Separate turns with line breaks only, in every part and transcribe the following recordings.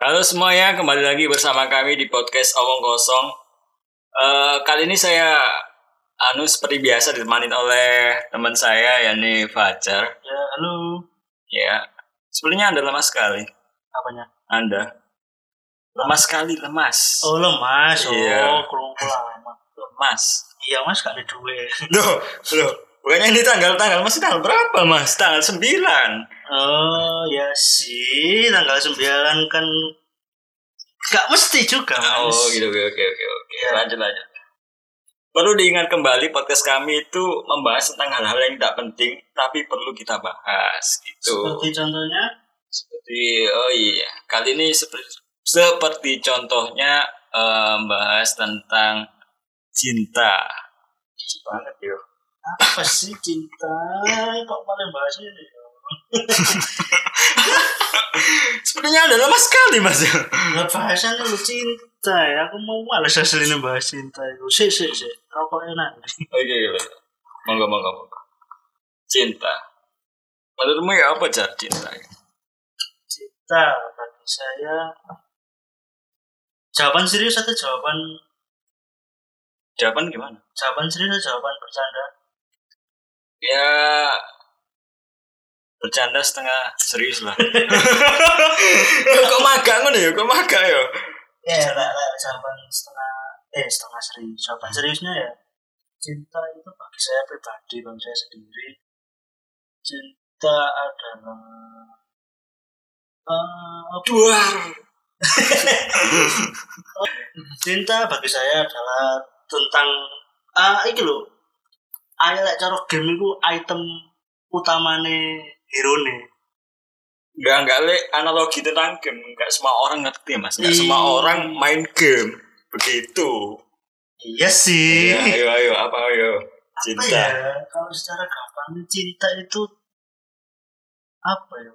Halo semuanya, kembali lagi bersama kami di podcast Omong Kosong. Eh, kali ini saya anu seperti biasa ditemani oleh teman saya yakni Fajar.
Ya, halo.
Ya. Sebenarnya Anda lemah sekali.
Apanya?
Anda lemah sekali, lemas.
Oh, lemas. Oh,
Iya.
kerungku lama.
lemas.
Iya, Mas, gak ada duit.
Loh, loh. Bukannya ini tanggal-tanggal masih tanggal berapa, Mas? Tanggal 9.
Oh, ya sih. Tanggal 9 kan gak mesti juga, Mas.
Oh gitu, oke oke oke oke. Lanjut lanjut. Perlu diingat kembali podcast kami itu membahas tentang hal-hal yang tidak penting tapi perlu kita bahas gitu.
Seperti contohnya,
Seperti oh iya kali ini seperti seperti contohnya eh, membahas tentang cinta. Lucu banget yo.
apa sih cinta? Kok malah bahas ini?
Sepertinya ada lama sekali mas.
Gak bahasan lu cinta ya. Aku mau malas aslinya bahas cinta itu. Sih, sih, sih. Rokoknya nanti.
oke oke. Monggo monggo monggo. Cinta. Menurutmu ya apa jar cinta?
Cinta bagi saya... Jawaban serius atau jawaban
Jawaban gimana?
jawaban serius atau jawaban bercanda?
ya bercanda setengah serius lah kok magang ngono ya kok magang ya
ya lah lah jawaban setengah eh setengah serius jawaban seriusnya ya cinta itu bagi saya pribadi bagi saya sendiri cinta adalah eh,
duar
cinta bagi saya adalah tentang ah iki lho ayo lek cara game itu item utamane hero nih
nggak nggak le analogi tentang game nggak semua orang ngerti mas nggak
Ih.
semua orang main game begitu
iya sih
ya, ayo ayo apa ayo
apa
cinta
ya kalau secara gampang cinta itu apa ya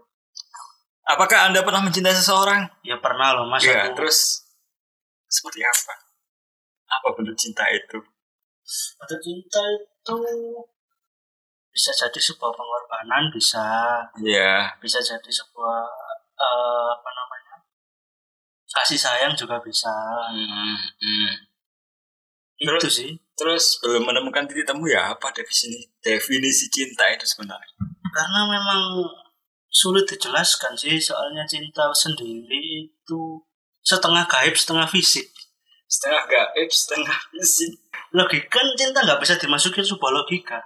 apakah anda pernah mencintai seseorang
ya pernah loh mas
ya
aku
terus seperti apa apa bentuk cinta itu
Bentuk cinta itu bisa jadi sebuah pengorbanan, bisa
ya
bisa jadi sebuah eh, apa namanya kasih sayang juga bisa.
Hmm, Terus-
itu sih.
Terus belum menemukan titik temu ya apa definisi definisi cinta itu sebenarnya?
Karena memang sulit dijelaskan sih, soalnya cinta sendiri itu setengah gaib, setengah fisik.
Setengah gaib, setengah fisik.
Logika kan cinta nggak bisa dimasukin sebuah logika.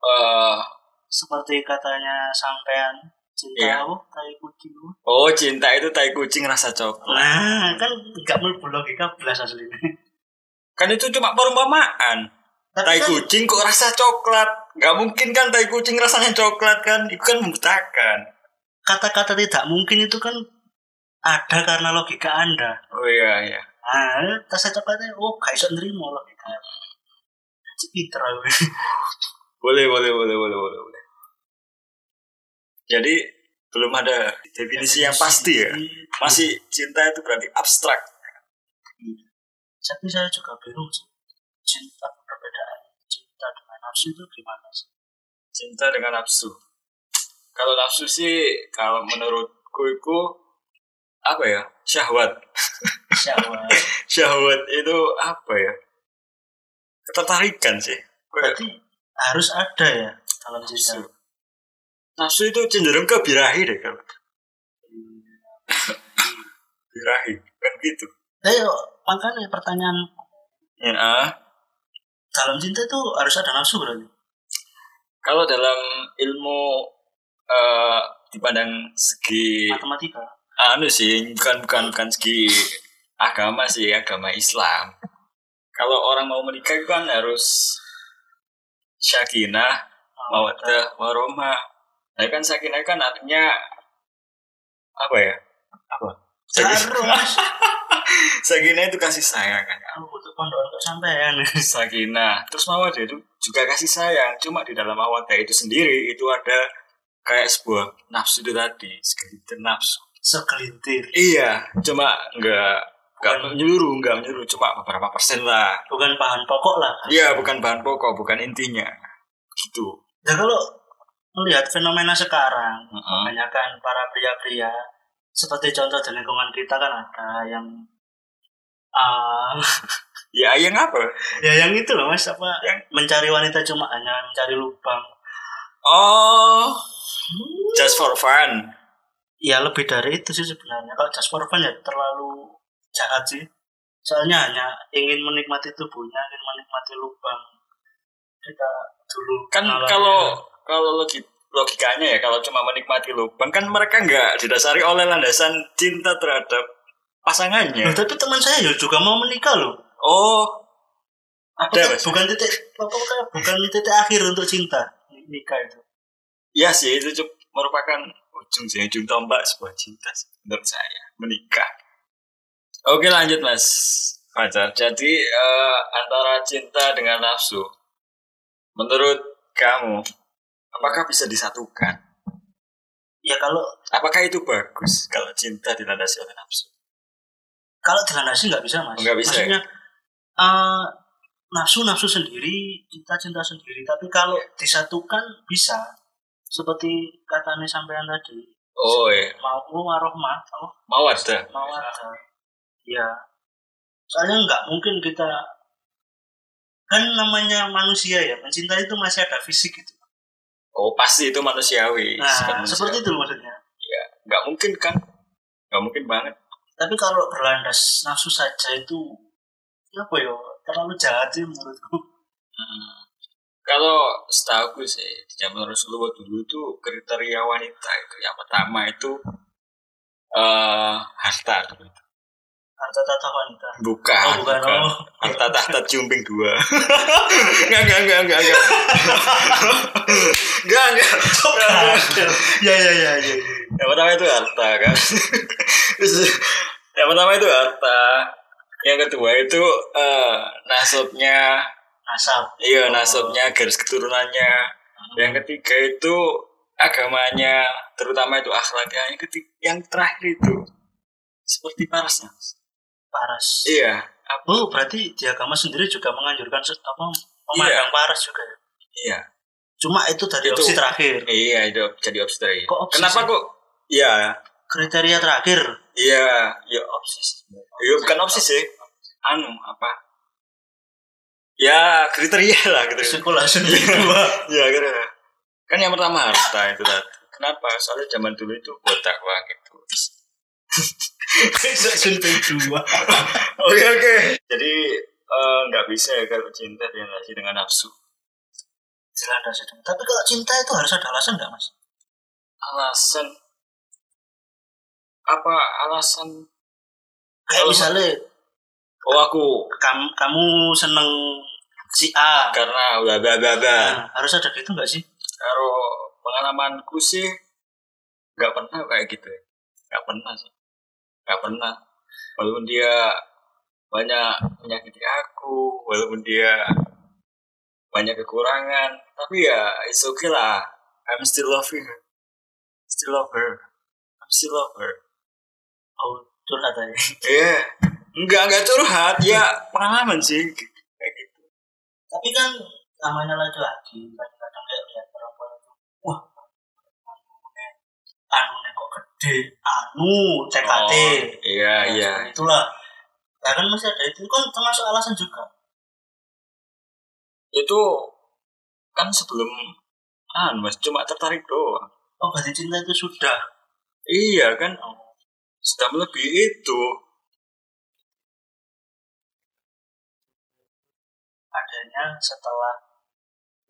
Eh,
Seperti katanya sampean cinta
Iya.
oh, tai kucing.
oh cinta itu tai kucing rasa coklat.
Nah, kan nggak melbu logika belas aslinya.
Kan itu cuma perumpamaan. Tai
kan-
kucing kok rasa coklat? Gak mungkin kan tai kucing rasanya coklat kan? Itu kan membutakan.
kata-kata tidak mungkin itu kan ada karena logika anda
Oh iya iya.
nah tas cepatnya oh gak bisa nerima logika Cipitra
Boleh boleh boleh boleh boleh boleh. Jadi belum ada definisi yang pasti ya. Masih cinta itu berarti abstrak.
tapi saya juga bingung sih cinta perbedaan cinta dengan nafsu itu gimana sih
cinta dengan nafsu kalau nafsu sih kalau menurutku itu apa ya syahwat
siapa
syahwat itu apa ya ketertarikan sih Kayak
berarti harus ada ya dalam
nafsu
cinta
nafsu itu cenderung ke birahi deh kalau birahi kan gitu
ayo makanya pertanyaan
ya ah.
dalam cinta itu harus ada nafsu berarti
kalau dalam ilmu eh, dipandang segi
matematika
anu sih bukan bukan bukan segi agama sih agama Islam kalau orang mau menikah itu kan harus syakinah mawaddah waroma nah kan sakinah kan artinya apa ya apa Iya.
Jarum, Mas.
sakinah itu kasih sayang kan
aku butuh pondok untuk sampean
sakinah terus mawaddah itu juga kasih sayang cuma di dalam mawaddah itu sendiri itu ada kayak sebuah nafsu itu tadi segelintir nafsu
segelintir
Iya, cuma nggak nggak menyeluruh, nggak menyeluruh, cuma beberapa persen lah.
bukan bahan pokok lah.
Iya, bukan bahan pokok, bukan intinya. Gitu.
Nah kalau melihat fenomena sekarang,
Heeh.
kebanyakan para pria-pria seperti contoh di lingkungan kita kan ada yang ah,
Ya yang apa?
ya yang itu loh mas apa
Yang-
mencari wanita cuma hanya mencari lubang
Oh, just for fun.
ya lebih dari itu sih sebenarnya kalau just for fun ya terlalu jahat sih soalnya hanya ingin menikmati tubuhnya ingin menikmati lubang kita dulu
Kan
mengalami-
kalau kalau logi, logikanya ya kalau cuma menikmati lubang kan mereka nggak didasari oleh landasan cinta terhadap
Loh,
pasangannya.
tapi teman saya ya juga mau menikah loh
Oh, ada mas?
bukan titik apa bukan- bukan titik akhir untuk cinta nikah itu
Iya sih itu cu- merupakan ujung sih ujung tombak sebuah cinta sih, menurut saya menikah. Oke lanjut mas Fajar. Jadi eh, antara cinta dengan nafsu, menurut kamu apakah bisa disatukan?
ya kalau
Apakah itu bagus kalau cinta dilandasi oleh nafsu?
kalau dilandasi nggak bisa mas
Nggak bisa, ya?
maksudnya eh, nafsu nafsu sendiri cinta cinta sendiri tapi kalau disatukan bisa seperti katanya sampean tadi
Oh iya,
mau warohmah oh,
mau ada.
mau ada ya soalnya nggak mungkin kita kan namanya manusia ya mencintai itu masih ada fisik gitu
Oh pasti itu manusiawi.
nah seperti itu maksudnya
Gak mungkin kan? Gak mungkin banget.
tapi kalau berlandas nafsu saja itu ya apa ya terlalu jahat sih menurutku
Hmm. Kalau setahu gue sih di zaman Rasulullah dulu itu kriteria wanita itu yang pertama itu eh harta dulu.
harta tata wanita
bukan,
Oh, bukan. Oh.
harta tahta jumping dua nggak nggak nggak nggak nggak nggak nggak
ya ya ya ya.
yang pertama itu harta kan Terus, yang pertama itu harta yang kedua itu eh nasabnya
Asap.
Iya, nasabnya, garis keturunannya. Yang ketiga itu agamanya, terutama itu akhlaknya. Yang ketiga, yang terakhir itu seperti parasnya.
Paras.
Iya,
Oh, berarti di agama sendiri juga menganjurkan se- apa memandang paras juga ya.
iya,
Cuma itu dari
Itu.
opsi terakhir.
iya itu jadi opsi terakhir.
Kok opsi
Kenapa
sih?
kok? Iya,
Kriteria terakhir.
iya, ya opsi sih. Iya, bukan opsi sih. Anu apa? Ya kriteria lah gitu.
Spekulasi kedua.
Iya, kriteria. Kan yang pertama harta itu tadi. Kenapa? Soalnya zaman dulu itu botak wah gitu. Terus
Spekulasi kedua.
Oke oke. Jadi eh, nggak bisa ya kalau cinta dilandasi dengan nafsu.
Silahkan sedang. Tapi kalau cinta itu harus ada alasan nggak mas?
Alasan apa alasan?
Kayak
Kalau-
misalnya
Oh aku
kamu kamu seneng si A.
karena bla bla bla bla.
Nah, harus ada gitu nggak sih?
Kalau pengalamanku sih nggak pernah kayak gitu. ya. Nggak pernah sih. Nggak pernah. Walaupun dia banyak menyakiti aku, walaupun dia banyak kekurangan, tapi ya it's okay lah. I'm still loving her. Still love her. I'm still love her.
Oh, curhat aja.
Iya. Enggak, enggak curhat. Ya pengalaman sih. Kayak gitu.
tapi kan namanya laki-laki kadang-kadang kayak lihat perempuan itu wah anu kok gede anu TKT
Iya,
Nah,
iya.
seperti itulah ya kan masih ada itu kan termasuk alasan juga
Itu kan sebelum ah mas cuma tertarik doang.
oh berarti cinta itu sudah
Iya kan Sudah lebih itu
adanya setelah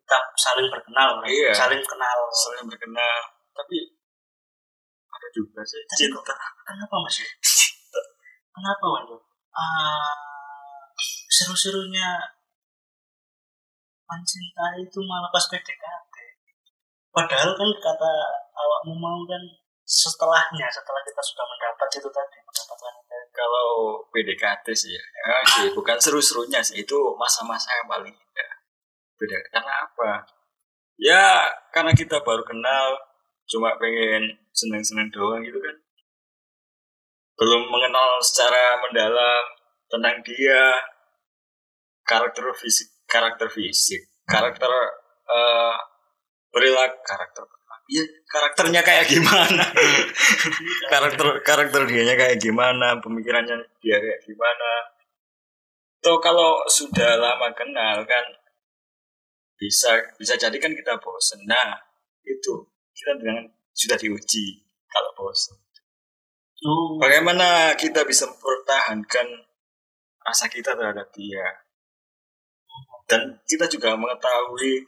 kita saling berkenal kan?
Iya.
saling kenal
Saling berkenal Tapi Ada juga sih
Tapi
Cinta
kok- kenapa mas ya? kenapa mas Ah, seru-serunya mencintai itu malah pas PDKT padahal kan kata awakmu mau kan setelahnya setelah kita sudah mendapat itu tadi mendapat wanita
Kalau PDKT sih ya, ya sih, Bukan seru-serunya sih Itu masa-masa yang paling indah Beda karena apa Ya karena kita baru kenal Cuma pengen seneng-seneng doang gitu kan Belum mengenal secara mendalam Tentang dia Karakter fisik Karakter fisik Karakter eh, perilaku karakter perilaku ya karakternya kayak gimana karakter karakter dianya kayak gimana pemikirannya dia kayak gimana Tuh kalau sudah lama kenal kan bisa bisa jadi kan kita bosen nah itu kita dengan sudah diuji kalau bosen
Oh,
bagaimana kita bisa mempertahankan rasa kita terhadap dia dan kita juga mengetahui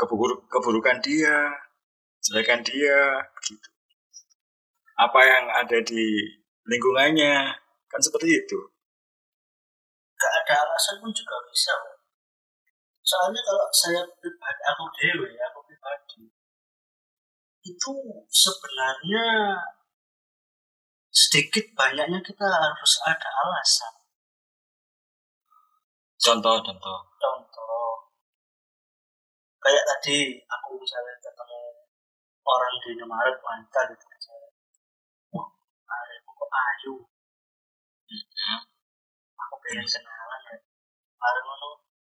keburuk keburukan dia jelekan dia gitu apa yang ada di lingkungannya kan seperti itu
gak ada alasan pun juga bisa. Pak. Soalnya kalau saya pribadi, aku dewe, aku pribadi, itu sebenarnya sedikit banyaknya kita harus ada alasan.
contoh contoh
Contoh, kayak tadi aku misalnya ketemu orang di Indomaret wanita gitu aja. Wah, ada kok ayu. Hmm. Aku pengen kenalan ya. Baru ngono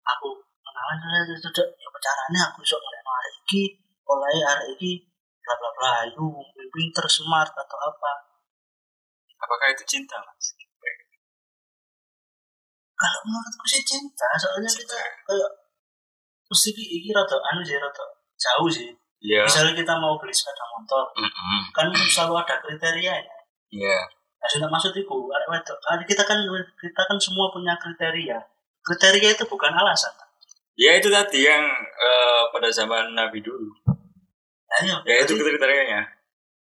aku kenalan terus sudah ya pacarannya aku sok ngeliat no arek iki, oleh arek iki bla bla bla ayu, mungkin pinter, smart atau apa.
apakah itu cinta mas
Kalau menurutku sih cinta, soalnya kita kayak mesti ki- iki rada anu sih rada jauh sih.
iya
Misalnya kita mau beli sepeda motor,
Mm-mm.
kan selalu ada kriterianya.
iya
Nah, sudah maksud itu, arek wedok. Kan kita kan kita kan semua punya kriteria. Kriteria itu bukan alasan. Nah,
ya itu tadi yang eh, pada zaman nabi dulu
Nah, iya.
ya itu
berarti,
kriterianya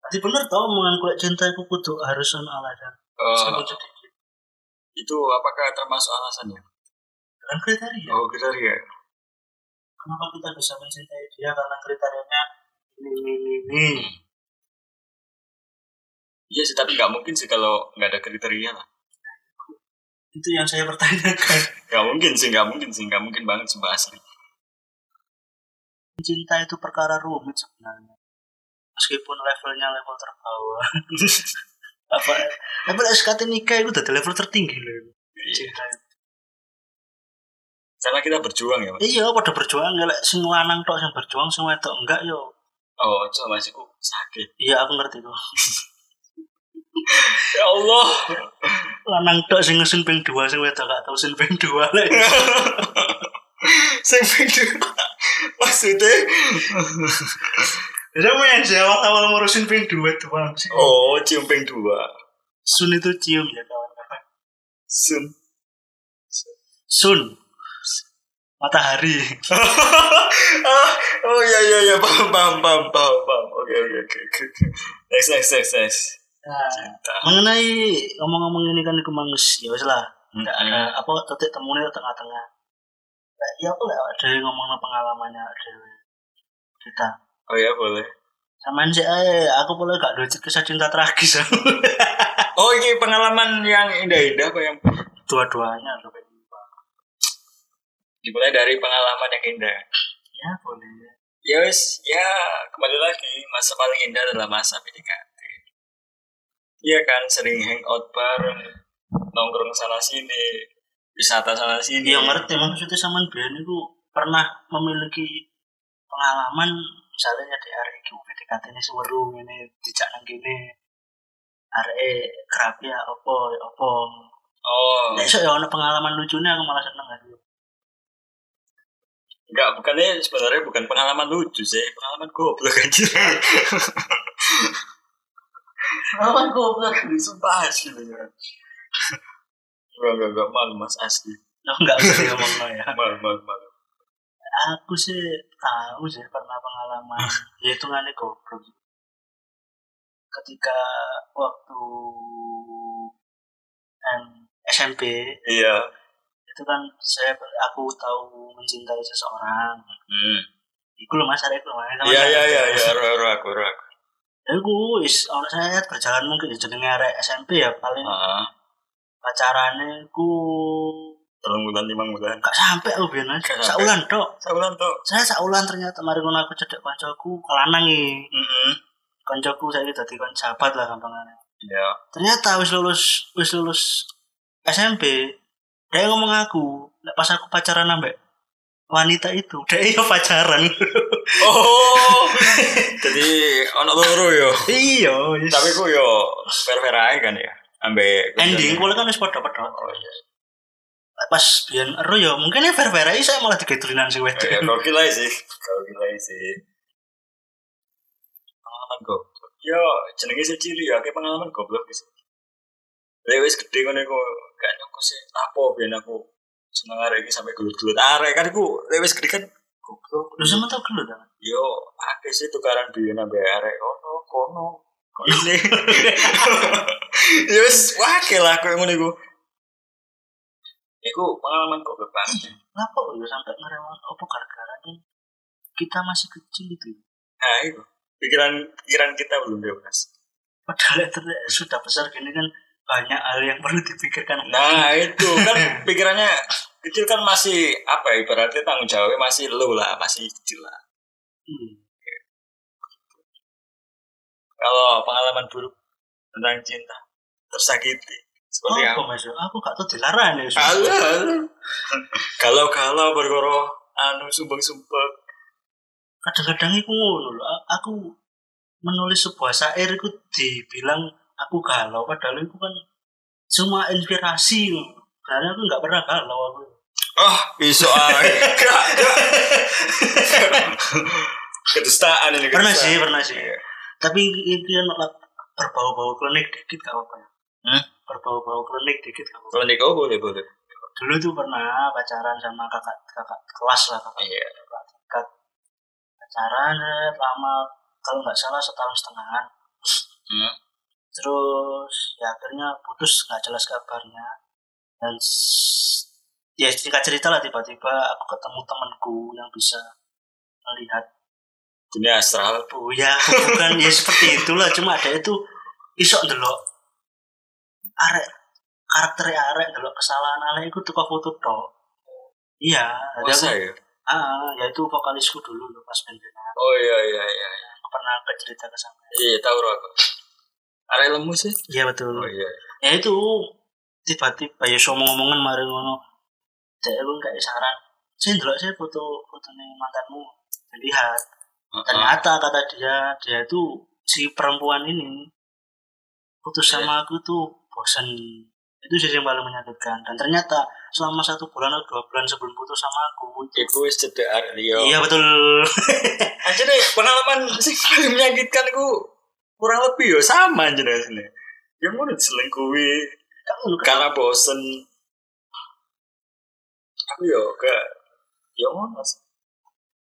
berarti bener tau mengaku cinta itu kudu harus ono alasan. gitu.
Eh,
Sebut sedikit.
itu apakah termasuk alasannya
Dengan Kan kriteria.
oh kriteria
Kenapa kita bisa mencintai dia karena kriterianya ini ini ini.
Hmm.
ini.
Iya sih, tapi nggak mungkin sih kalau nggak ada kriteria lah.
Itu yang saya pertanyakan.
Nggak mungkin sih, nggak mungkin sih, nggak mungkin banget sumpah asli.
Cinta itu perkara rumit sebenarnya. Meskipun levelnya level terbawah. apa? ya? Tapi SKT nikah itu udah di level tertinggi loh.
Iya.
Cinta itu.
Karena kita berjuang ya, Mas.
iya pada berjuang ya lek sing lanang tok sing berjuang sing wedok enggak yo
Oh, cuma masih kok sakit.
iya aku ngerti kok
Ya Allah.
lanang tok sing ngesin ping dua sing wedok gak tau sin ping dua lek
Saya pikir maksudnya.
jadi mau yang jawab awal ngurusin ping dua doang sih
Oh, ciumpeng dua.
sun itu cium ya kawan-kawan
Sun.
sun matahari
ah, oh ya ya ya paham paham paham paham paham. Oke oke oke oke. oke. Next next next next.
nah,
Cinta.
mengenai ngomong-ngomong ini kan iku mangs ya wis lah
Enggak
Eh, apa titik temunya tengah-tengah Lah, ya aku lah ada ngomong pengalamannya dewe kita
Oh ya boleh.
Samain sih, eh, aku boleh gak ada kisah cinta tragis
Oh ini pengalaman yang indah-indah apa yang
Dua-duanya loh kayak gitu.
dimulai dari pengalaman yang indah.
Ya boleh
Ya wis, ya kembali lagi masa paling indah adalah masa PDKT. Iya kan sering hangout bareng, nongkrong sana sini, wisata sana sini.
Iya ngerti maksudnya Saman Bian itu pernah memiliki pengalaman Misalnya di hari itu PDKT ini seweru ini Dijak nang gini Hari kerapi ya opo ya opo
Oh,
Nah iso ya ada pengalaman lucunya aku malah seneng gitu
enggak bukannya sebenarnya bukan pengalaman lucu sih, pengalaman goblok kan? aja. pengalaman goblok ini sumpah asli. beneran. Enggak enggak enggak malu mas asli.
Lo gak bisa ngomong ya
Malu malu malu.
Aku sih tahu sih pernah pengalaman
Hmm.
ya hitungannya goblok ketika waktu em, SMP
Iya.
itu kan saya aku tahu mencintai seseorang
Hmm.
Iku loh mas, arek iku loh, mas.
Iya
Ya
iya iya iya. Ro ro aku ro aku.
Iku wis, orang saya lihat berjalan mungkin ya, jenenge arek SMP ya paling
Ah,
pacarannya iku
telung bulan lima bulan.
gak sampai aku biar mas,
Gak sampai.
saulan dok.
Sebulan tuh.
Saya saulan ternyata mari ngono aku cedek kancaku kelanangi,
Mm-hmm.
kancaku saya tadi kan sahabat lah gampangannya.
Ya.
ternyata wis lulus wis lulus SMP dia ngomong aku "Lek pas aku iya pacaran ambek wanita itu dia ya pacaran
Oh. Jadi ono loro yo.
Iya, yes.
Tapi ku yo fair-fair ae kan ya. Ambek
ending kuwi kan wis padha-padha.
Oh iya.
Pas biyen ero ya mungkin ya fair-fair ae saya malah digedolinan sing
Oh, Ya
wedok.
gokil ae sih. Gokil ae sih. Pengalaman goblok. Yo jenenge sih cili ya, kayak pengalaman goblok sih. Lha wis gede ngene kok gak nyongko sih. Apa biyen aku seneng arek iki sampe gelut-gelut arek kan ku lha wis gede kan goblok.
Lu sama tau gelut ta?
Yo akeh sih tukaran biyen ambek arek oh. kono kono. Kok ini. Yo wis wakil lah koyo ngene ku. Iku pengalaman goblok banget.
Ngapa kok ya sampai ngerewan opo gara-gara ini kita masih kecil itu. ya?
Nah, itu. Pikiran pikiran kita belum bebas.
Padahal ternyata sudah besar gini kan banyak hal yang perlu dipikirkan.
Nah, itu kan pikirannya kecil kan masih apa ya ibaratnya tanggung jawabnya masih low lah, masih kecil lah.
Hmm.
Kalau pengalaman buruk tentang cinta tersakiti seperti
Oh, Apa
apa?
Mas? Aku gak tau dilarang ya. Sus.
Halo, halo. Kalau-kalau bergoro anu sumbang-sumbang.
kadang-kadang itu ngono lho. A- aku menulis sebuah syair itu dibilang aku galau padahal itu kan cuma inspirasi lho. karena aku nggak pernah galau aku Ah,
Oh, iso ae. Gak, gak. Kedustaan ini
pernah
kedustaan.
sih pernah sih
Iya.
tapi itu yang malah berbau-bau klinik dikit gak apa-apa ya
Hah?
berbau-bau klinik dikit gak apa-apa
Kalau nikah boleh boleh.
dulu tuh pernah pacaran sama kakak kakak kelas lah kakak
Iya.
tingkat pacaran eh, lama kalau nggak salah setahun setengahan
Hmm.
terus ya akhirnya putus nggak jelas kabarnya dan s- ya singkat cerita lah tiba-tiba aku ketemu temanku yang bisa melihat
Jadi astral
bu ya bukan ya seperti itulah cuma ada itu isok delok arek karakter arek delok kesalahan arek itu tukang foto tok iya jadi aku-
Masa ya?
Ah, yaitu vokalisku dulu loh pas pendengar.
Oh iya iya iya. iya.
Pernah ke cerita ke sana.
Iya tahu roh aku. Arek lemu sih.
Iya betul.
Oh iya.
Ya itu tiba-tiba ya so ngomongan mari ngono. Dek lu kayak saran. Saya ndelok sih foto fotone mantanmu. Dilihat. Ternyata kata dia, dia itu si perempuan ini putus
Iya.
sama aku tuh bosan. Itu sih yang paling menyakitkan. Dan ternyata selama satu bulan atau dua bulan sebelum putus sama aku.
Iku wis cedek arek liya.
Iya betul.
Anjir deh, pengalaman sing paling menyakitkan ku kurang lebih yo sama anjir sini. Ya ngono diselingkuhi
Kamu
karena bosen. Aku yo gak yo ya, ngono sih.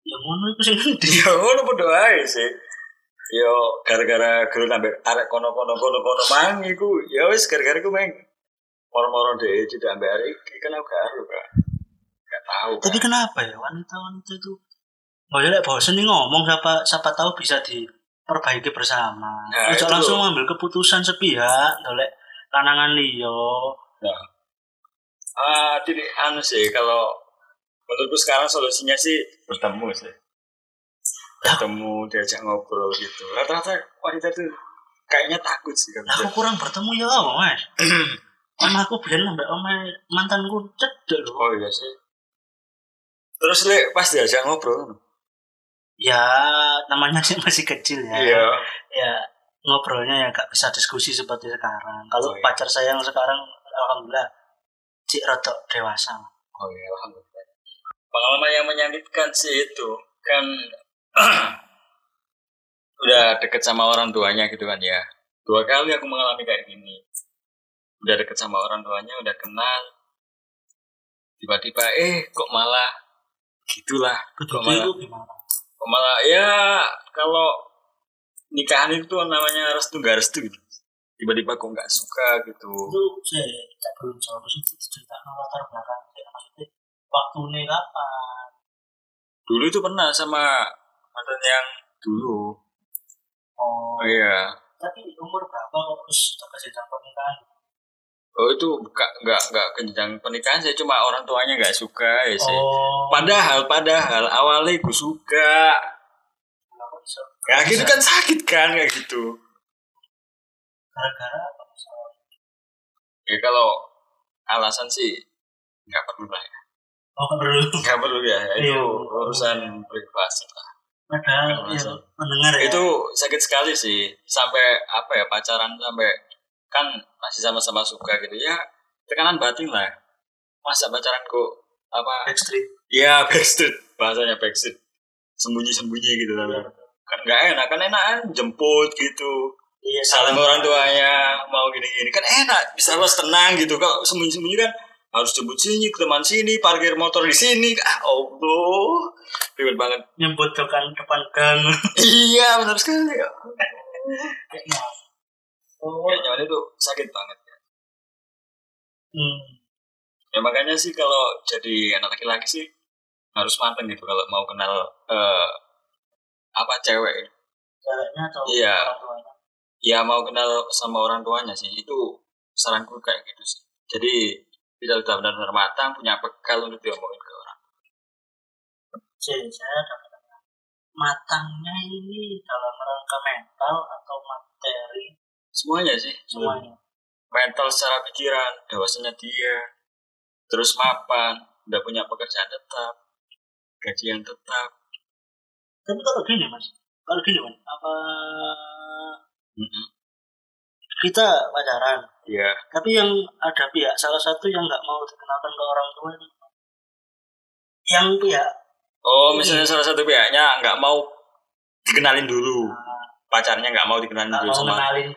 yang ngono itu sih ngendi?
Ya ngono padha ae sih. Yo gara-gara gelut ambek arek kono-kono kono-kono mang iku ya wis gara-gara iku mang. Moro-moro deh tidak ambek arek iki kan aku gak aru Kak. Gak tahu. Kak.
Tapi kenapa ya wanita-wanita itu Oh ya, lek bosen nih ngomong siapa siapa tahu bisa diperbaiki bersama.
Nah,
Ojo
itu
langsung
loh.
ngambil keputusan sepihak, golek lanangan liya.
Ah, jadi anu sih kalau menurutku sekarang solusinya sih bertemu sih. Bertemu diajak ngobrol gitu. Rata-rata wanita tuh kayaknya takut sih kan.
Lah, aku kurang bertemu ya apa, Mas? Sama aku biyen nambah omae mantanku cedek lho.
Oh iya sih. Terus le pas diajak ngobrol.
Ya, namanya sih masih kecil ya.
Iya.
Ya, ngobrolnya ya gak bisa diskusi seperti sekarang.
Oh,
Kalau
iya.
pacar saya yang sekarang alhamdulillah cik rotok dewasa.
Oh iya, alhamdulillah. Pengalaman yang menyakitkan sih itu kan udah deket sama orang tuanya gitu kan ya. Dua kali aku mengalami kayak gini. Udah deket sama orang tuanya, udah kenal. Tiba-tiba eh kok malah gitulah. Kok
Begitu
malah,
itu gimana?
kok malah ya kalau nikahan itu namanya restu nggak restu gitu. Tiba-tiba kok nggak suka gitu.
itu saya tak belum jawab sih cerita latar belakang ya maksudnya waktu ini kapan
Dulu itu pernah sama mantan yang dulu.
oh
Oh iya.
tapi umur berapa kok terus sudah kan? ke jenjang pernikahan
Oh itu nggak nggak nggak kenjang pernikahan saya cuma orang tuanya nggak suka ya sih.
oh
Padahal padahal awalnya gue suka.
gila, kok bisa
Ya gitu kan sakit kan kayak gitu.
gara-gara apa misalnya
Ya kalau alasan sih nggak perlu lah. ya.
oh perlu
Nggak perlu ya.
Iya.
Itu urusan privasi lah.
padahal
Nggak
ya,
masuk.
mendengar ya
Iya, itu sakit sekali sih sampai apa ya pacaran sampai kan masih sama-sama suka gitu ya tekanan batin lah masa pacaran kok apa
backstreet
ya backstreet bahasanya backstreet sembunyi-sembunyi gitu kan kan nggak enak kan enakan jemput gitu
iya
salam orang tuanya mau gini-gini kan enak bisa harus tenang gitu kalau sembunyi-sembunyi kan harus jemput sini ke teman sini parkir motor di sini ah allah ribet banget
nyebut ke kan depan gang
iya benar sekali
Kayaknya. ya. oh
kayaknya waktu itu sakit banget ya.
hmm.
ya makanya sih kalau jadi anak laki-laki sih harus matang gitu kalau mau kenal eh, apa cewek
caranya atau
Iya.
orang tuanya
ya mau kenal sama orang tuanya sih itu saranku kayak gitu sih jadi tidak sudah benar-benar matang punya bekal untuk diomongin ke orang
jadi saya dapat tanya, matangnya ini dalam rangka mental atau materi
semuanya sih
semuanya
mental secara pikiran dewasanya dia terus mapan udah punya pekerjaan tetap gaji yang tetap
tapi kalau gini Iya, mas kalau gini mas apa
Mm-mm.
kita pacaran
Iya.
tapi yang ada pihak salah satu yang nggak mau dikenalkan ke orang tua itu yang pihak
oh misalnya salah satu pihaknya nggak mau dikenalin dulu
uh,
pacarnya nggak mau dikenalin
nggak
dulu
mau
sama
kenalin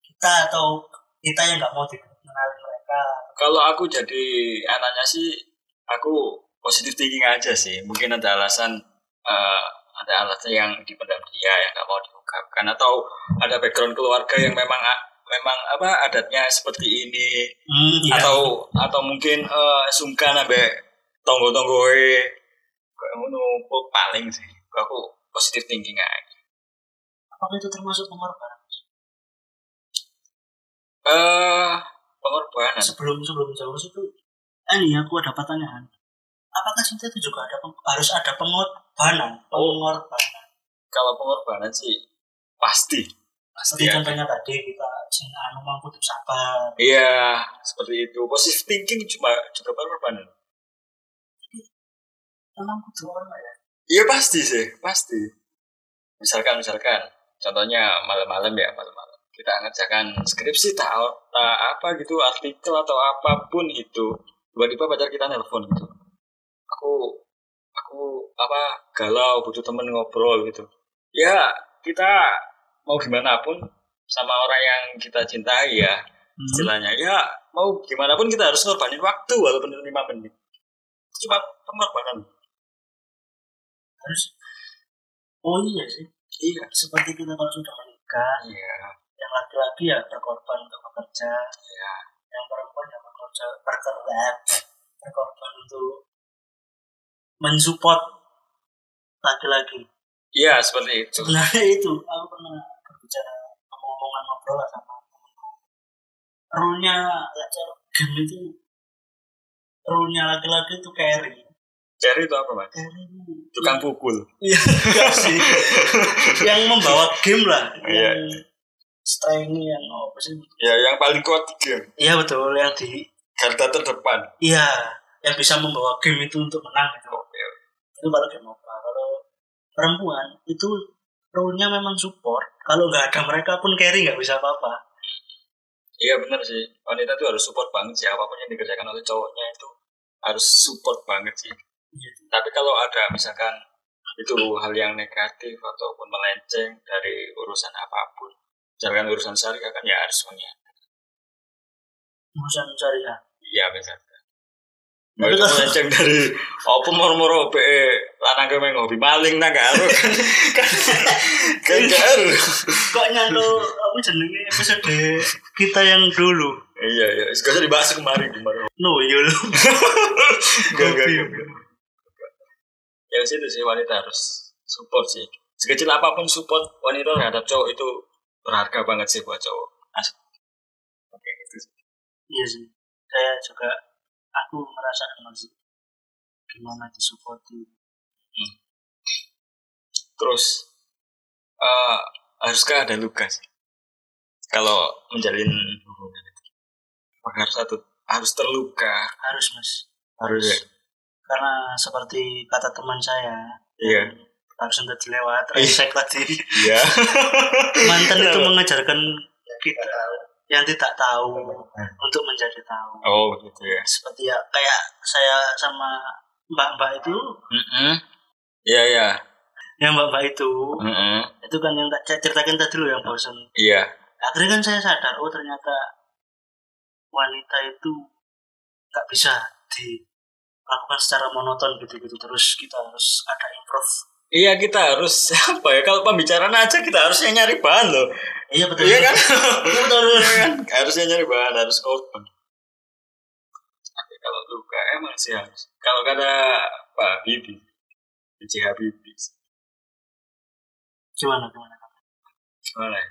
kita atau kita yang nggak mau dikenalin mereka
kalau aku jadi anaknya sih aku positif thinking aja sih mungkin ada alasan eh, ada alasan yang dipendam dia yang nggak mau diungkapkan atau ada background keluarga yang memang memang apa adatnya seperti ini
hmm,
atau atau mungkin eh, sungkan sampai tonggo-tonggo kayak ngono kok paling sih aku positif thinking aja
apakah itu termasuk pengorbanan
eh pengorbanan
sebelum sebelum jauh itu eh, ini aku ada pertanyaan apakah cinta itu juga ada peng- harus ada pengorbanan pengorbanan
kalau pengorbanan sih pasti
seperti
Iya.
contohnya tadi kita sing anu mampu untuk sabar
Iya, seperti itu. Positive thinking cuma juga berkorban.
memang kudu ono ya
Iya pasti sih, pasti. Misalkan, misalkan, contohnya malam-malam ya malam-malam kita ngerjakan skripsi tahu apa gitu artikel atau apapun itu tiba-tiba pacar kita nelpon gitu aku aku apa galau butuh temen ngobrol gitu ya kita mau gimana pun sama orang yang kita cintai ya istilahnya ya mau gimana pun kita harus ngorbanin waktu walaupun itu lima menit cuma pengorbanan
harus oh iya sih
iya
seperti kita kalau sudah menikah
iya
yang laki-laki ya berkorban untuk bekerja
Iya.
yang perempuan ya bekerja berkorban berkorban untuk mensupport laki-laki
iya seperti itu
sebenarnya itu aku pernah berbicara ngomong-ngomongan ngobrol lah sama temanku rule-nya lecture game itu rule-nya laki-laki itu carry
Jerry itu apa mas
carry itu-
tukang pukul
Iya enggak sih yang membawa game lah
Iya.
yang strength yang oh, apa sih
ya yang paling kuat di game
iya betul yang di
garda terdepan
iya yang bisa membawa game itu untuk menang gitu
oke
itu kalau game MOBA kalau perempuan itu role-nya memang support kalau nggak ada mereka pun carry nggak bisa apa-apa
iya benar sih wanita itu harus support banget sih apapun yang dikerjakan oleh cowoknya itu harus support banget sih
Iya.
tapi kalau ada misalkan itu hal yang negatif ataupun melenceng dari urusan apapun misalkan urusan syariah kan ya harus punya
urusan syariah
Iya benar.
Tapi
Mereka
kalau-
melenceng dari apa moro-moro be lanang kowe hobi maling nang gak aru kan kan gak aru.
kok nyantol aku jenenge episode kita yang dulu
Iya iya, wis gak usah dibahas kemarin kemarin.
no iya yul
Gak gak gak. Ya wis itu sih wanita harus support sih. Sekecil apapun support wanita terhadap cowok itu berharga banget sih buat cowok. Asli. Oke itu sih.
iya sih saya juga aku merasakan sih gimana disupporti
Terus eh haruskah ada luka sih? Kalau menjalin hubungan itu, Apakah harus satu harus terluka?
harus mas
Harus.
karena seperti kata teman saya
Iya.
barusan tadi lewat resek tadi
Iya.
mantan itu
Kenapa?
mengajarkan kita yang tidak tahu untuk menjadi tahu
Oh gitu ya.
seperti ya kayak saya sama mbak-mbak itu
Mm-mm. Iya iya.
yang mbak-mbak itu
Mm-mm.
itu kan yang tak saya ceritakan tadi loh yang bosan
Iya.
akhirnya kan saya sadar oh ternyata wanita itu nggak bisa dilakukan secara monoton gitu-gitu terus kita harus ada improve
Iya kita harus apa ya kalau pembicaraan aja kita harusnya nyari bahan loh.
iya betul
Iya kan?
Iya, betul
Iya kan? Harusnya nyari bahan harus open. Tapi kalau luka emang sih harus. Kalau kata Pak Habibie, B.J. Habibie,
gimana gimana
gimana ya?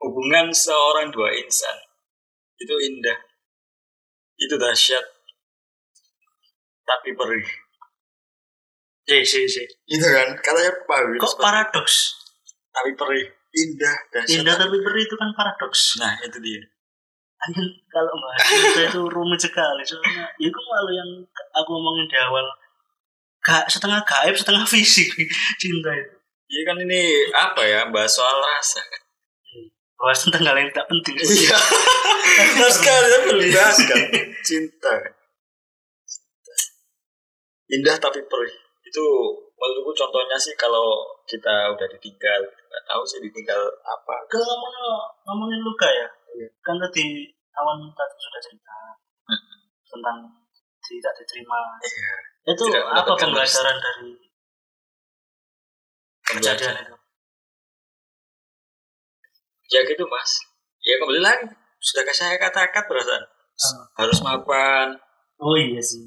Hubungan seorang dua insan itu indah, itu dahsyat, tapi perih.
iya sih sih
Itu kan katanya Pak Habibie.
kok
seperti-
paradoks
Tapi perih, indah, dahsyat.
indah tapi perih itu kan paradoks
Nah itu dia.
Anjir, kalau bahas itu itu rumit sekali soalnya itu malu yang aku ngomongin di awal Ga, setengah gaib setengah fisik cinta itu
Iya kan ini apa ya bahas soal rasa. kan?
bahas tentang hal yang tak penting
Iya. Harus kalian berbahas kan cinta. Cinta. Indah tapi perih. Itu menurutku contohnya sih kalau kita udah ditinggal, nggak tahu sih ditinggal apa.
kalau ngomongin, ngomongin luka ya
Iya.
kan tadi awan tadi sudah cerita tentang tidak diterima
Iya.
itu
Tidak
apa
mendapatkan
pembelajaran dari kejadian itu
Ya gitu mas. Ya kembali lagi sudah saya katakan perasaan
Hmm.
harus mapan,
oh iya sih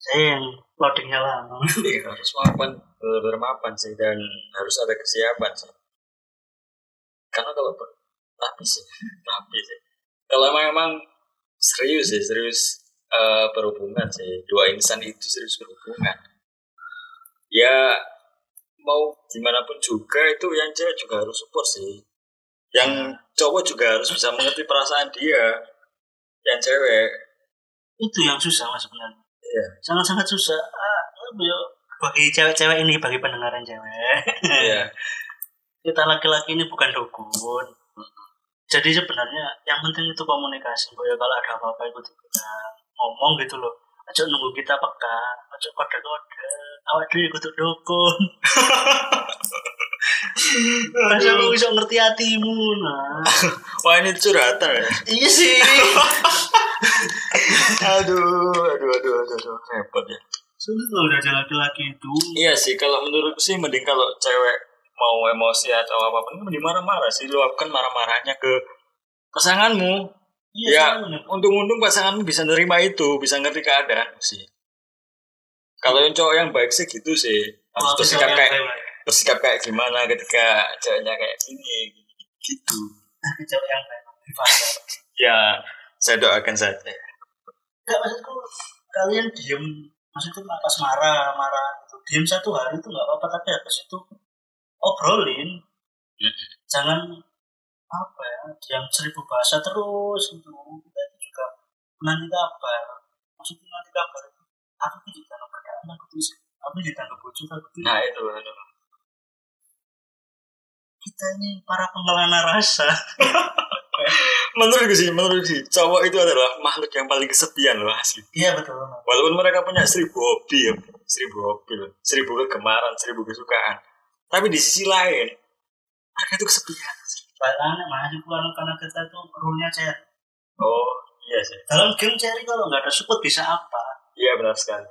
saya yang loadingnya lama
Iya, harus mapan benar mapan sih dan harus ada kesiapan sih karena kalau ber- tapi sih tapi sih kalau emang emang serius sih serius eh, berhubungan sih dua insan itu serius berhubungan ya mau gimana pun juga itu yang cewek juga harus support sih yang cowok juga harus bisa mengerti perasaan dia yang cewek
itu yang susah mas sebenarnya
Iya.
sangat-sangat susah Ah, apa ya? bagi cewek-cewek ini bagi pendengaran cewek
ya
kita laki-laki ini bukan dukun jadi sebenarnya yang penting itu komunikasi Mbak ya kalau ada apa-apa ikut ikutan ngomong gitu loh aja nunggu kita peka aja kode-kode awak dhewe ikut dukun Masa aku bisa ngerti hatimu nah
wah ini curhatan ya
iya sih
aduh, aduh, aduh, aduh, aduh, repot ya.
sulit loh jadi laki-laki itu
Iya sih, kalau menurutku sih mending kalau cewek mau emosi atau apapun mending marah-marah sih, luapkan marah-marahnya ke pasanganmu.
Iya,
Ya.
soalnya.
Untung-untung pasanganmu bisa nerima itu, bisa ngerti keadaan sih. Kalau yang cowok yang baik sih gitu sih, harus
Kalau
bersikap
misalnya
kayak
cewek-
bersikap kayak gimana ketika ceweknya kayak gini gitu.
cewek yang baik dipaksa.
Ya, saya doakan saja.
Enggak maksudku kalian diem maksudnya pas marah marah gitu diem satu hari itu nggak apa-apa tapi habis itu obrolin
Mm.
jangan apa ya diam seribu bahasa terus gitu kita itu juga nanti kabar maksudnya nanti kabar itu, aku tuh di dalam keadaan aku tuh aku di dalam bojo aku tuh
Nah itu, aduh.
kita ini para pengelana rasa
menurutku sih, menurutku sih, cowok itu adalah makhluk yang paling kesepian loh asli.
iya betul Mas.
Walaupun mereka punya seribu hobi ya, seribu hobi loh, seribu kegemaran, seribu kesukaan. Tapi di sisi lain, mereka itu kesepian.
Padahal mah itu karena kita tuh rule-nya cair.
Oh, iya sih.
Dalam game cari kalau nggak ada support bisa apa?
Iya benar sekali.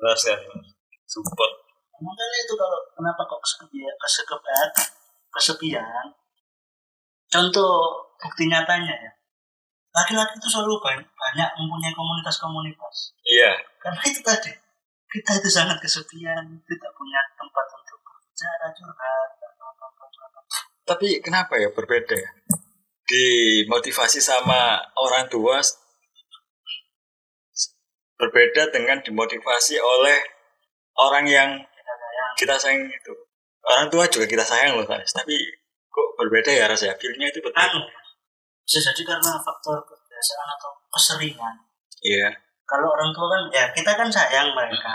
Benar sekali. Support.
Makanya itu kalau kenapa kok kesepian, kesepian, kesepian. Contoh bukti nyatanya ya. Laki-laki itu selalu banyak, banyak mempunyai komunitas-komunitas.
Iya,
Karena itu tadi, kita itu sangat kesepian, tidak punya tempat untuk berbicara, curhat, atau apa-apa.
tapi kenapa ya berbeda ya? Dimotivasi sama orang tua s- berbeda dengan dimotivasi oleh orang yang
Kita
kita sayang
sayang.
itu. Orang tua juga kita sayang loh, guys. Tapi kok berbeda ya rasanya? Feel-nya itu berbeda.
Anu, bisa jadi karena faktor kebiasaan atau keseringan.
Iya. Ah.
Kalau orang tua kan, ya kita kan sayang mereka.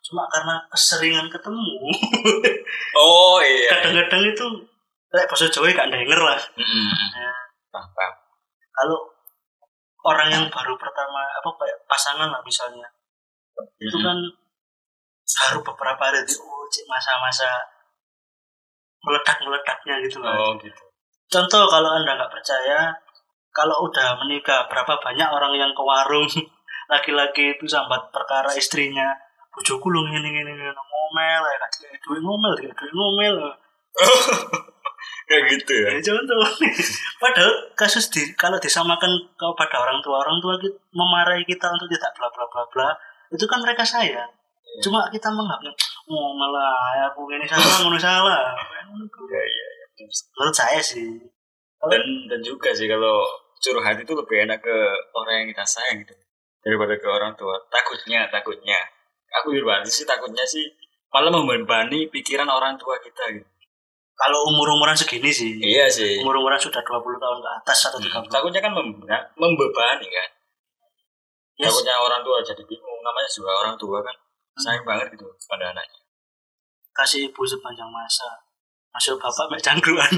cuma karena keseringan ketemu
oh iya
kadang-kadang itu kayak bahasa Jawa gak denger lah
Mm-mm. paham paham
kalau orang yang baru pertama apa kayak pasangan lah misalnya itu
Mm-mm.
kan baru beberapa hari di oh, cik, masa-masa meledak meledaknya gitu kan
oh gitu
contoh kalau anda nggak percaya kalau udah menikah berapa banyak orang yang ke warung laki-laki itu sambat perkara istrinya bojoku lu ngene ngene ngene ngomel ya gak dikasih duit ngomel gak duit ngomel
kayak gitu ya
ya contoh padahal kasus di kalau disamakan kepada orang tua orang tua kita, memarahi kita untuk tidak bla bla bla bla itu kan mereka sayang cuma kita menganggap oh malah aku ini salah ngono salah
Iya, iya, iya.
menurut saya sih
dan dan juga sih kalau curhat itu lebih enak ke orang yang kita sayang gitu daripada ke orang tua takutnya takutnya aku pribadi sih takutnya sih malah membebani pikiran orang tua kita gitu
kalau umur umuran segini sih
iya sih
umur umuran sudah 20 tahun ke atas atau 30 tahun
takutnya kan membe- membebani kan takutnya orang tua jadi bingung namanya juga orang tua kan sayang banget gitu pada anaknya
kasih ibu sepanjang masa masuk bapak mbak cangkruan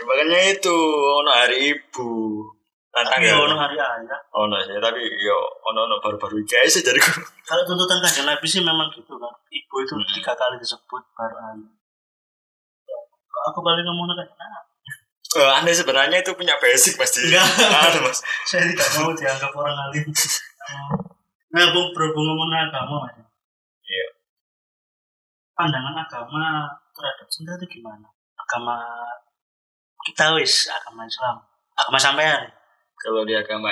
Ya, makanya itu ono hari ibu
tapi
tantangan
ono
Nah, ono
hari ayah
ono sih tapi yo ono ono baru baru iki aja sih dari guru
kalau tuntutan kanjeng nabi sih memang gitu kan ibu itu
Hmm.
tiga kali disebut baru ayah Kok aku balik ngomong kan nah,
Eh, anda sebenarnya itu punya basic pasti
Enggak.
Anu, mas
saya tidak mau dianggap orang alim Eh, nah bu berhubung ngomongin agama Mas.
Iya.
pandangan agama terhadap cinta itu gimana agama kita wis agama Islam agama sampean
kalau di agama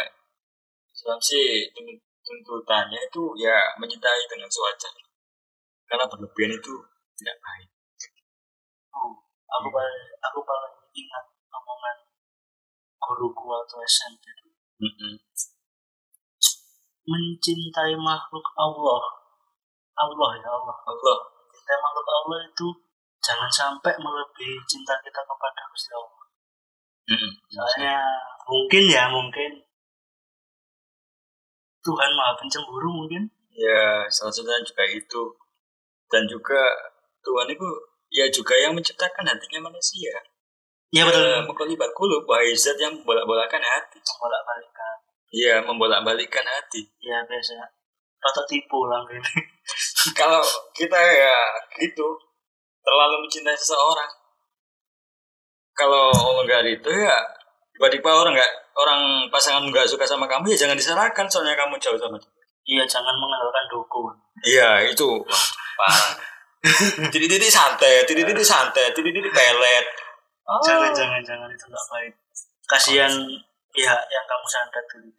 Islam sih tun- tuntutannya itu ya mencintai dengan sewajarnya karena berlebihan itu tidak baik
Oh, aku
Hmm.
paling aku paling ingat omongan guruku waktu SMP dulu.
Mm-mm.
mencintai makhluk Allah Allah ya Allah
Allah
mencintai makhluk Allah itu jangan sampai melebihi cinta kita kepada Gusti Allah
Mm-mm.
soalnya mungkin ya mungkin Tuhan maha pencemburu mungkin
ya salah satunya juga itu dan juga Tuhan itu ya juga yang menciptakan hatinya manusia
iya
Eh, Mukallibal qulub, wahai zat yang membolak-balikan hati.
bolak balikan
Iya, membolak-balikan hati.
ya biasa rotok tipu lah mungkin
Kalau kita ya gitu, terlalu mencintai seseorang. Kalau enggak itu ya tiba-tiba orang nggak orang pasangan nggak suka sama kamu ya jangan disalahkan soalnya kamu jauh sama dia.
iya jangan mengandalkan dukun
Iya itu Wah, parah. Titik-titik santai, titik-titik santai, titik-titik pelet. Oh.
jangan jangan jangan itu nggak baik kasihan pihak yang kamu sandat dulu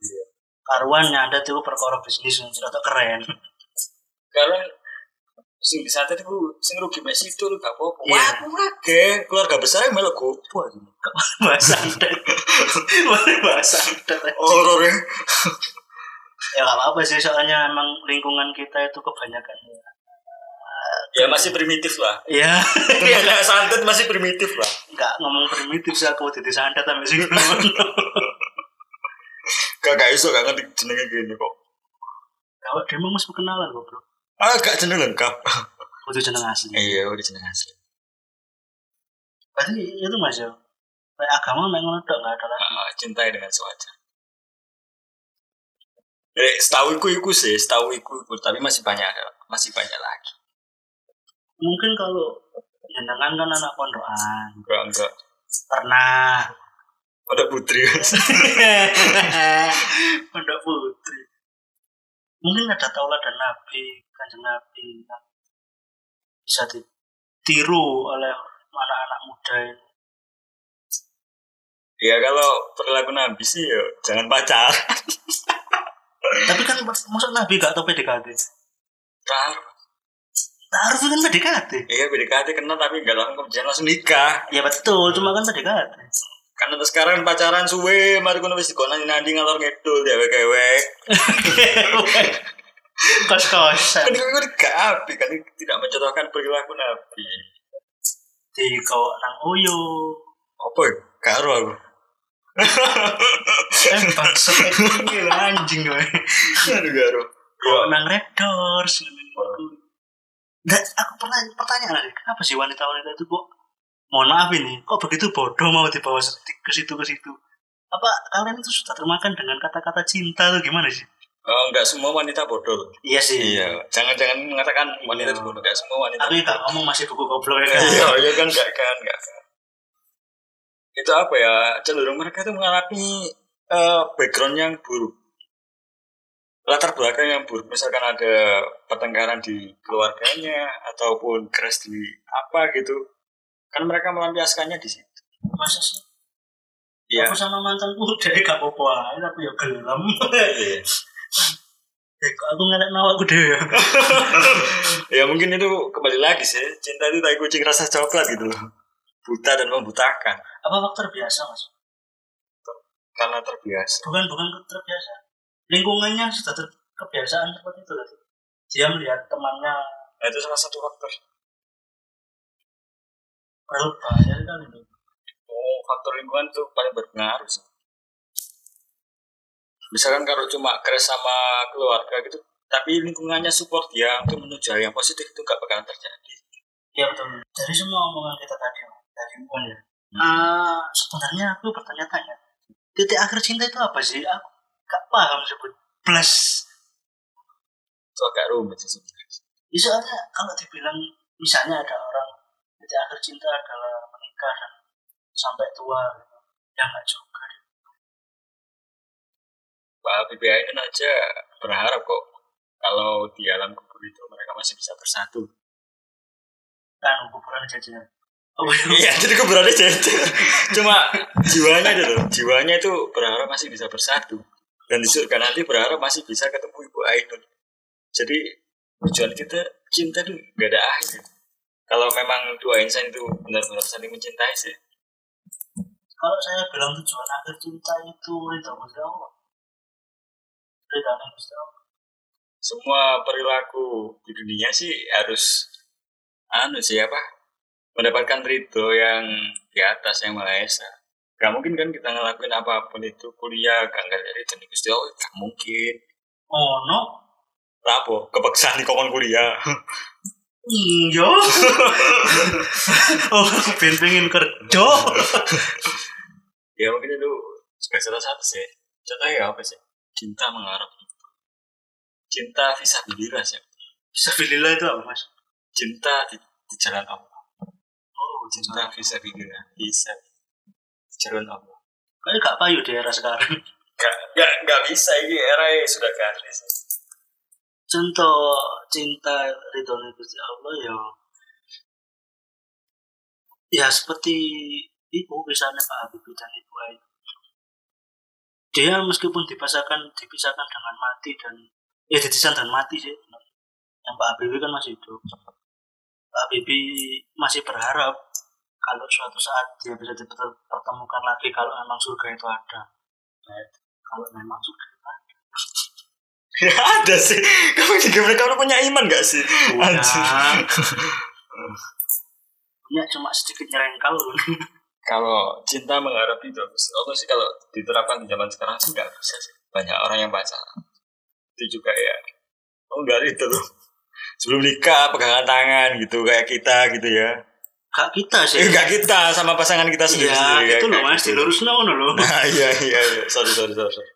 karuan nyandat itu perkara bisnis yang sudah tak keren
karena sing santai itu sing rugi mek situ lu gak apa-apa.
Iya.
Wah, aku ngake, keluarga besar yang melok gopo.
bahas sandat Mari bahas sandat
Horor ya.
Oh. ya nggak apa-apa sih soalnya emang lingkungan kita itu kebanyakan ya
Ya masih primitif lah.
ya
Kayak santet masih primitif lah.
nggak ngomong primitif sih aku titik sandat sampai sini
Gak gak iso gak ngerti jenenge gini kok.
kalau dia mau masuk kenalan kok bro
Ah, gak jeneng lengkap.
butuh jeneng asli
Iya, udah jeneng asli.
berarti itu mas ya kayak agama memang udah nggak ada lagi
Ah, cintai dengan sewajar. Eh, setahu iku iku sih, setahu iku iku, tapi masih banyak masih banyak lagi.
mungkin kalau jenengan kan anak pondokan
Enggak enggak.
pernah
Ada putri.
Pondok Putri. Mungkin ada taulah dan Nabi, kanjeng Nabi yang bisa ditiru oleh anak-anak muda ini.
ya kalau perilaku nabi sih ya jangan pacar.
Tapi kan maksud Nabi gak tau PDKT.
Taruh.
Taruh kan PDKT.
Iya PDKT kena tapi nggak langsung kemudian langsung nikah.
Ya betul, cuma kan PDKT.
Karena terus sekarang pacaran suwe, mari kono wis dikono nanti ngalor ngidul ya wek-wek. Kan
Kos-kosan.
itu kan gak api kan itu tidak mencontohkan perilaku nabi.
Di kau nang Oyo.
Apa ya? Gak ero aku.
eh bangsat ini lho, anjing gue
Aduh garo.
kok nang red doors Dan aku pernah pertanyaan lagi kenapa sih wanita-wanita itu kok mohon maaf ini kok begitu bodoh mau dibawa se- ke situ ke situ apa kalian itu sudah termakan dengan kata-kata cinta tuh gimana sih
Eh, enggak semua wanita bodoh.
iya sih
Iya. Jangan-jangan mengatakan wanita itu bodoh. Enggak semua wanita.
tapi nggak ngomong masih buku goblok ya kan
iya, iya kan enggak kan enggak. kan. Itu apa ya? Cenderung mereka itu mengalami eh, background yang buruk. Latar belakang yang buruk, misalkan ada pertengkaran di keluarganya ataupun crash di apa gitu. Kan mereka melampiaskannya di situ.
masa sih
Iya.
aku sama mantanku udah gak apa-apa aja, tapi ya gelem
Iya.
Eh, kok aku ngelak nawa aku deh
ya mungkin itu kembali lagi sih cinta itu tai kucing rasa coklat gitu loh buta dan membutakan
apa faktor biasa mas
karena terbiasa
bukan bukan terbiasa lingkungannya sudah ter kebiasaan seperti itu lagi dia melihat temannya
nah, itu salah satu faktor
berbahaya kali ini
oh faktor lingkungan tuh paling berpengaruh sih misalkan kalau cuma crash sama keluarga gitu tapi lingkungannya support dia untuk menuju hal yang positif itu nggak bakalan terjadi
ya betul dari semua omongan kita tadi dari lingkungan ya
Hmm.
Ah, sebenarnya aku bertanya-tanya titik akhir cinta itu apa sih aku gak paham sebut plus
itu agak rumit sih sebenarnya
Ya, soalnya kalau dibilang misalnya ada orang titik akhir cinta adalah menikah dan sampai tua gitu. ya nggak juga
Pak BBIN aja berharap kok kalau di alam kubur itu mereka masih bisa bersatu
kan ukuran jajan
Iya, jadi keberadaannya jajar. Cuma jiwanya itu loh, jiwanya itu berharap masih bisa bersatu. Dan di surga nanti berharap masih bisa ketemu Ibu Ainun. Jadi tujuan kita cinta itu gak ada akhir. Kalau memang dua insan itu benar-benar saling mencintai sih.
kalau saya bilang tujuan akhir cinta itu ridho Gusti Allah ridho Gusti Allah
Semua perilaku di dunia sih harus anu sih apa? Mendapatkan ridho yang di atas yang Maha Esa. Gak mungkin kan kita ngelakuin apapun itu kuliah gak nggak ridho nih Gusti Allah gak mungkin.
oh no
Lapo, kepeksaan di kokon kuliah.
iya oh aku pengen pengen kerja
ya mungkin itu sebagai salah satu sih. Contohnya ya apa sih? Cinta mengharap itu. Cinta bisa biliras ya.
bisa pilihlah itu apa mas
Cinta di, di jalan Allah. Oh, cinta bisa biliras. Bisa. Di jalan Allah.
kayaknya gak payu di era sekarang
Gak, gak, gak bisa ini era yang sudah garis.
contoh cinta ridho Gusti Allah ya ya seperti ibu misalnya Pak Habibie dan Ibu Ayu dia meskipun dipasahkan dipisahkan dengan mati dan ya ditisan dan mati sih yang Pak Habibie kan masih hidup Pak Habibie masih berharap kalau suatu saat dia bisa dipertemukan lagi kalau memang surga itu ada Nah, kalau memang surga itu ada
Ya ada sih. Kamu juga mereka punya iman gak sih?
Punya.
Anjir.
punya Ya, cuma sedikit nyerengkal
kalau cinta mengharap itu bagus. Aku oh, sih kalau diterapkan di zaman sekarang sih nggak bisa sih. Banyak orang yang baca itu juga ya. Oh nggak itu loh. Sebelum nikah pegangan tangan gitu kayak kita gitu ya.
Kak kita
Eh
sih.
enggak kita sama pasangan kita sendiri.
Iya,
sendiri
itu loh mas, dilurus ngono loh.
Nah, iya iya iya. Sorry sorry sorry. sorry.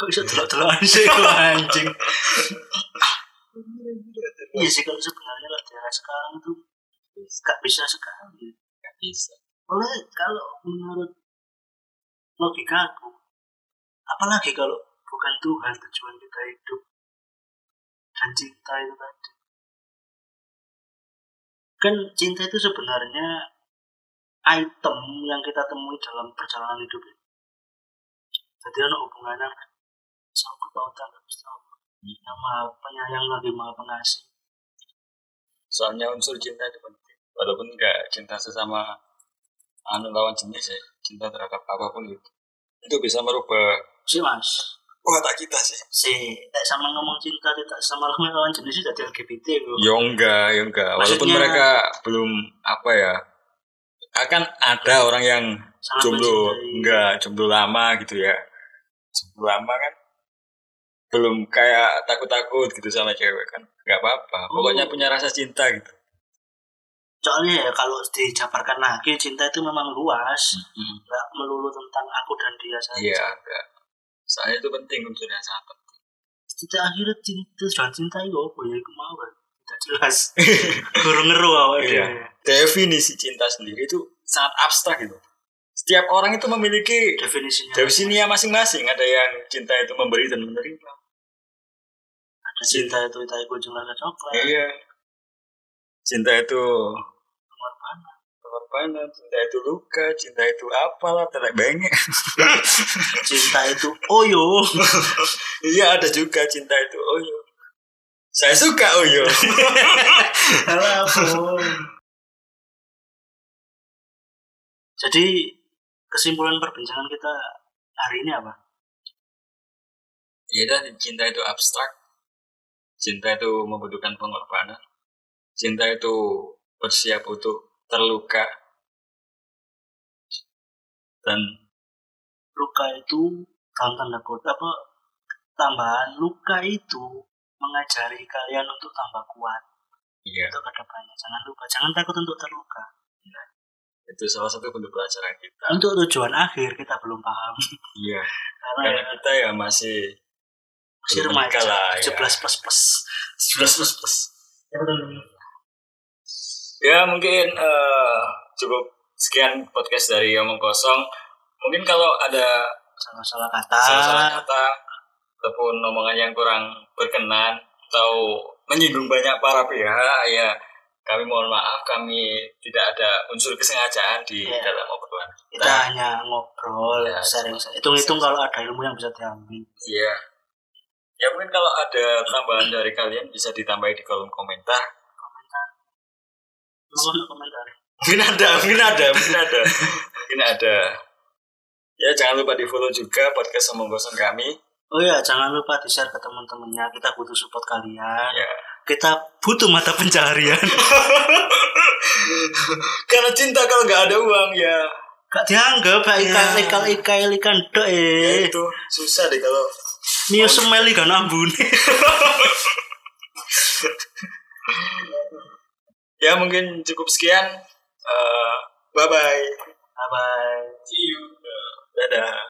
Kok bisa telok-telokan sih itu anjing. Iya sih kalau sebenarnya lah daerah sekarang tuh nggak bisa sekali.
Nggak bisa.
Oleh kalau menurut logika aku, apalagi kalau bukan Tuhan tujuan kita hidup dan cinta itu tadi. Kan cinta itu sebenarnya item yang kita temui dalam perjalanan hidup ini. Jadi ada hubungannya sama kepautan sama yang maha penyayang lagi maha pengasih.
Soalnya unsur cinta itu penting. Walaupun nggak cinta sesama anu lawan jenis ya. Cinta terhadap apapun gitu. Itu bisa merubah
Si mas,
watak kita sih.
si tak sama ngomong cinta tidak sama lawan jenis sudah LGBT bro.
Ya enggak, ya enggak. Walaupun
Maksudnya-
mereka belum apa ya, akan ada orang yang
Sangat
jomblo,
mencintai.
enggak jomblo lama gitu ya. cukup lama kan belum kayak takut-takut gitu sama cewek kan nggak apa-apa pokoknya
Hmm.
punya rasa cinta gitu
soalnya ya kalau dijabarkan lagi cinta itu memang luas nggak melulu tentang aku dan dia saja
Hmm. iya enggak soalnya itu penting unsurnya sangat penting
cinta akhirnya cinta tujuan cinta itu apa ya aku mau kan tidak jelas kurang ngeru apa
Iya.
dia
definisi cinta sendiri itu sangat abstrak gitu setiap orang itu memiliki
definisinya
definisinya masing-masing ada yang cinta itu memberi dan menerima
ada cinta itu itu aku jumlah coklat
iya cinta itu
pengorbanan
pengorbanan cinta itu luka cinta itu apalah telek bengek
cinta itu oh, oyo
iya ada juga cinta itu oyo saya suka oh iya. oyo
Salah, Bro. jadi kesimpulan perbincangan kita hari ini apa
iya dan cinta itu abstrak cinta itu membutuhkan pengorbanan cinta itu bersiap untuk terluka dan
luka itu dalam tanda kutip apa tambahan luka itu mengajari kalian untuk tambah kuat
iya
itu kedepannya jangan lupa jangan takut untuk terluka
itu salah satu bentuk pelajaran kita
untuk tujuan akhir kita belum paham
iya karena
karena ya,
kita ya masih
masih
belum
remaja
menikah lah, ya.
17 plus plus
11 plus plus Ya mungkin eh, cukup sekian podcast dari Omong Kosong. Mungkin kalau ada
salah-salah kata Ah.
salah-salah kata ataupun omongan yang kurang berkenan atau menyinggung banyak para pihak ya kami mohon maaf kami tidak ada unsur kesengajaan di
Iya.
dalam obrolan
kita hanya ngobrol
Ya,
sharing
cuma-
hitung-hitung kalau ada ilmu yang bisa diambil
Iya. Ya mungkin kalau ada tambahan dari kalian bisa ditambahin di kolom komentar.
komentar Mau nggak komentar
Mungkin ada, mungkin ada, mungkin ada. mungkin ada. Ya jangan lupa di follow juga podcast Omong Kosong kami.
oh ya jangan lupa di share ke teman-temannya kita butuh support kalian
Ya.
kita butuh mata pencaharian
Karena cinta kalau nggak ada uang ya,
Gak dianggap Pak
Iya.
ikan ikan ikan ikan dok
ya
eh
itu susah deh kalau
mio semeli kan ambune
ya mungkin cukup Eh, sekian. bye bye.
bye bye
See you. Dadah.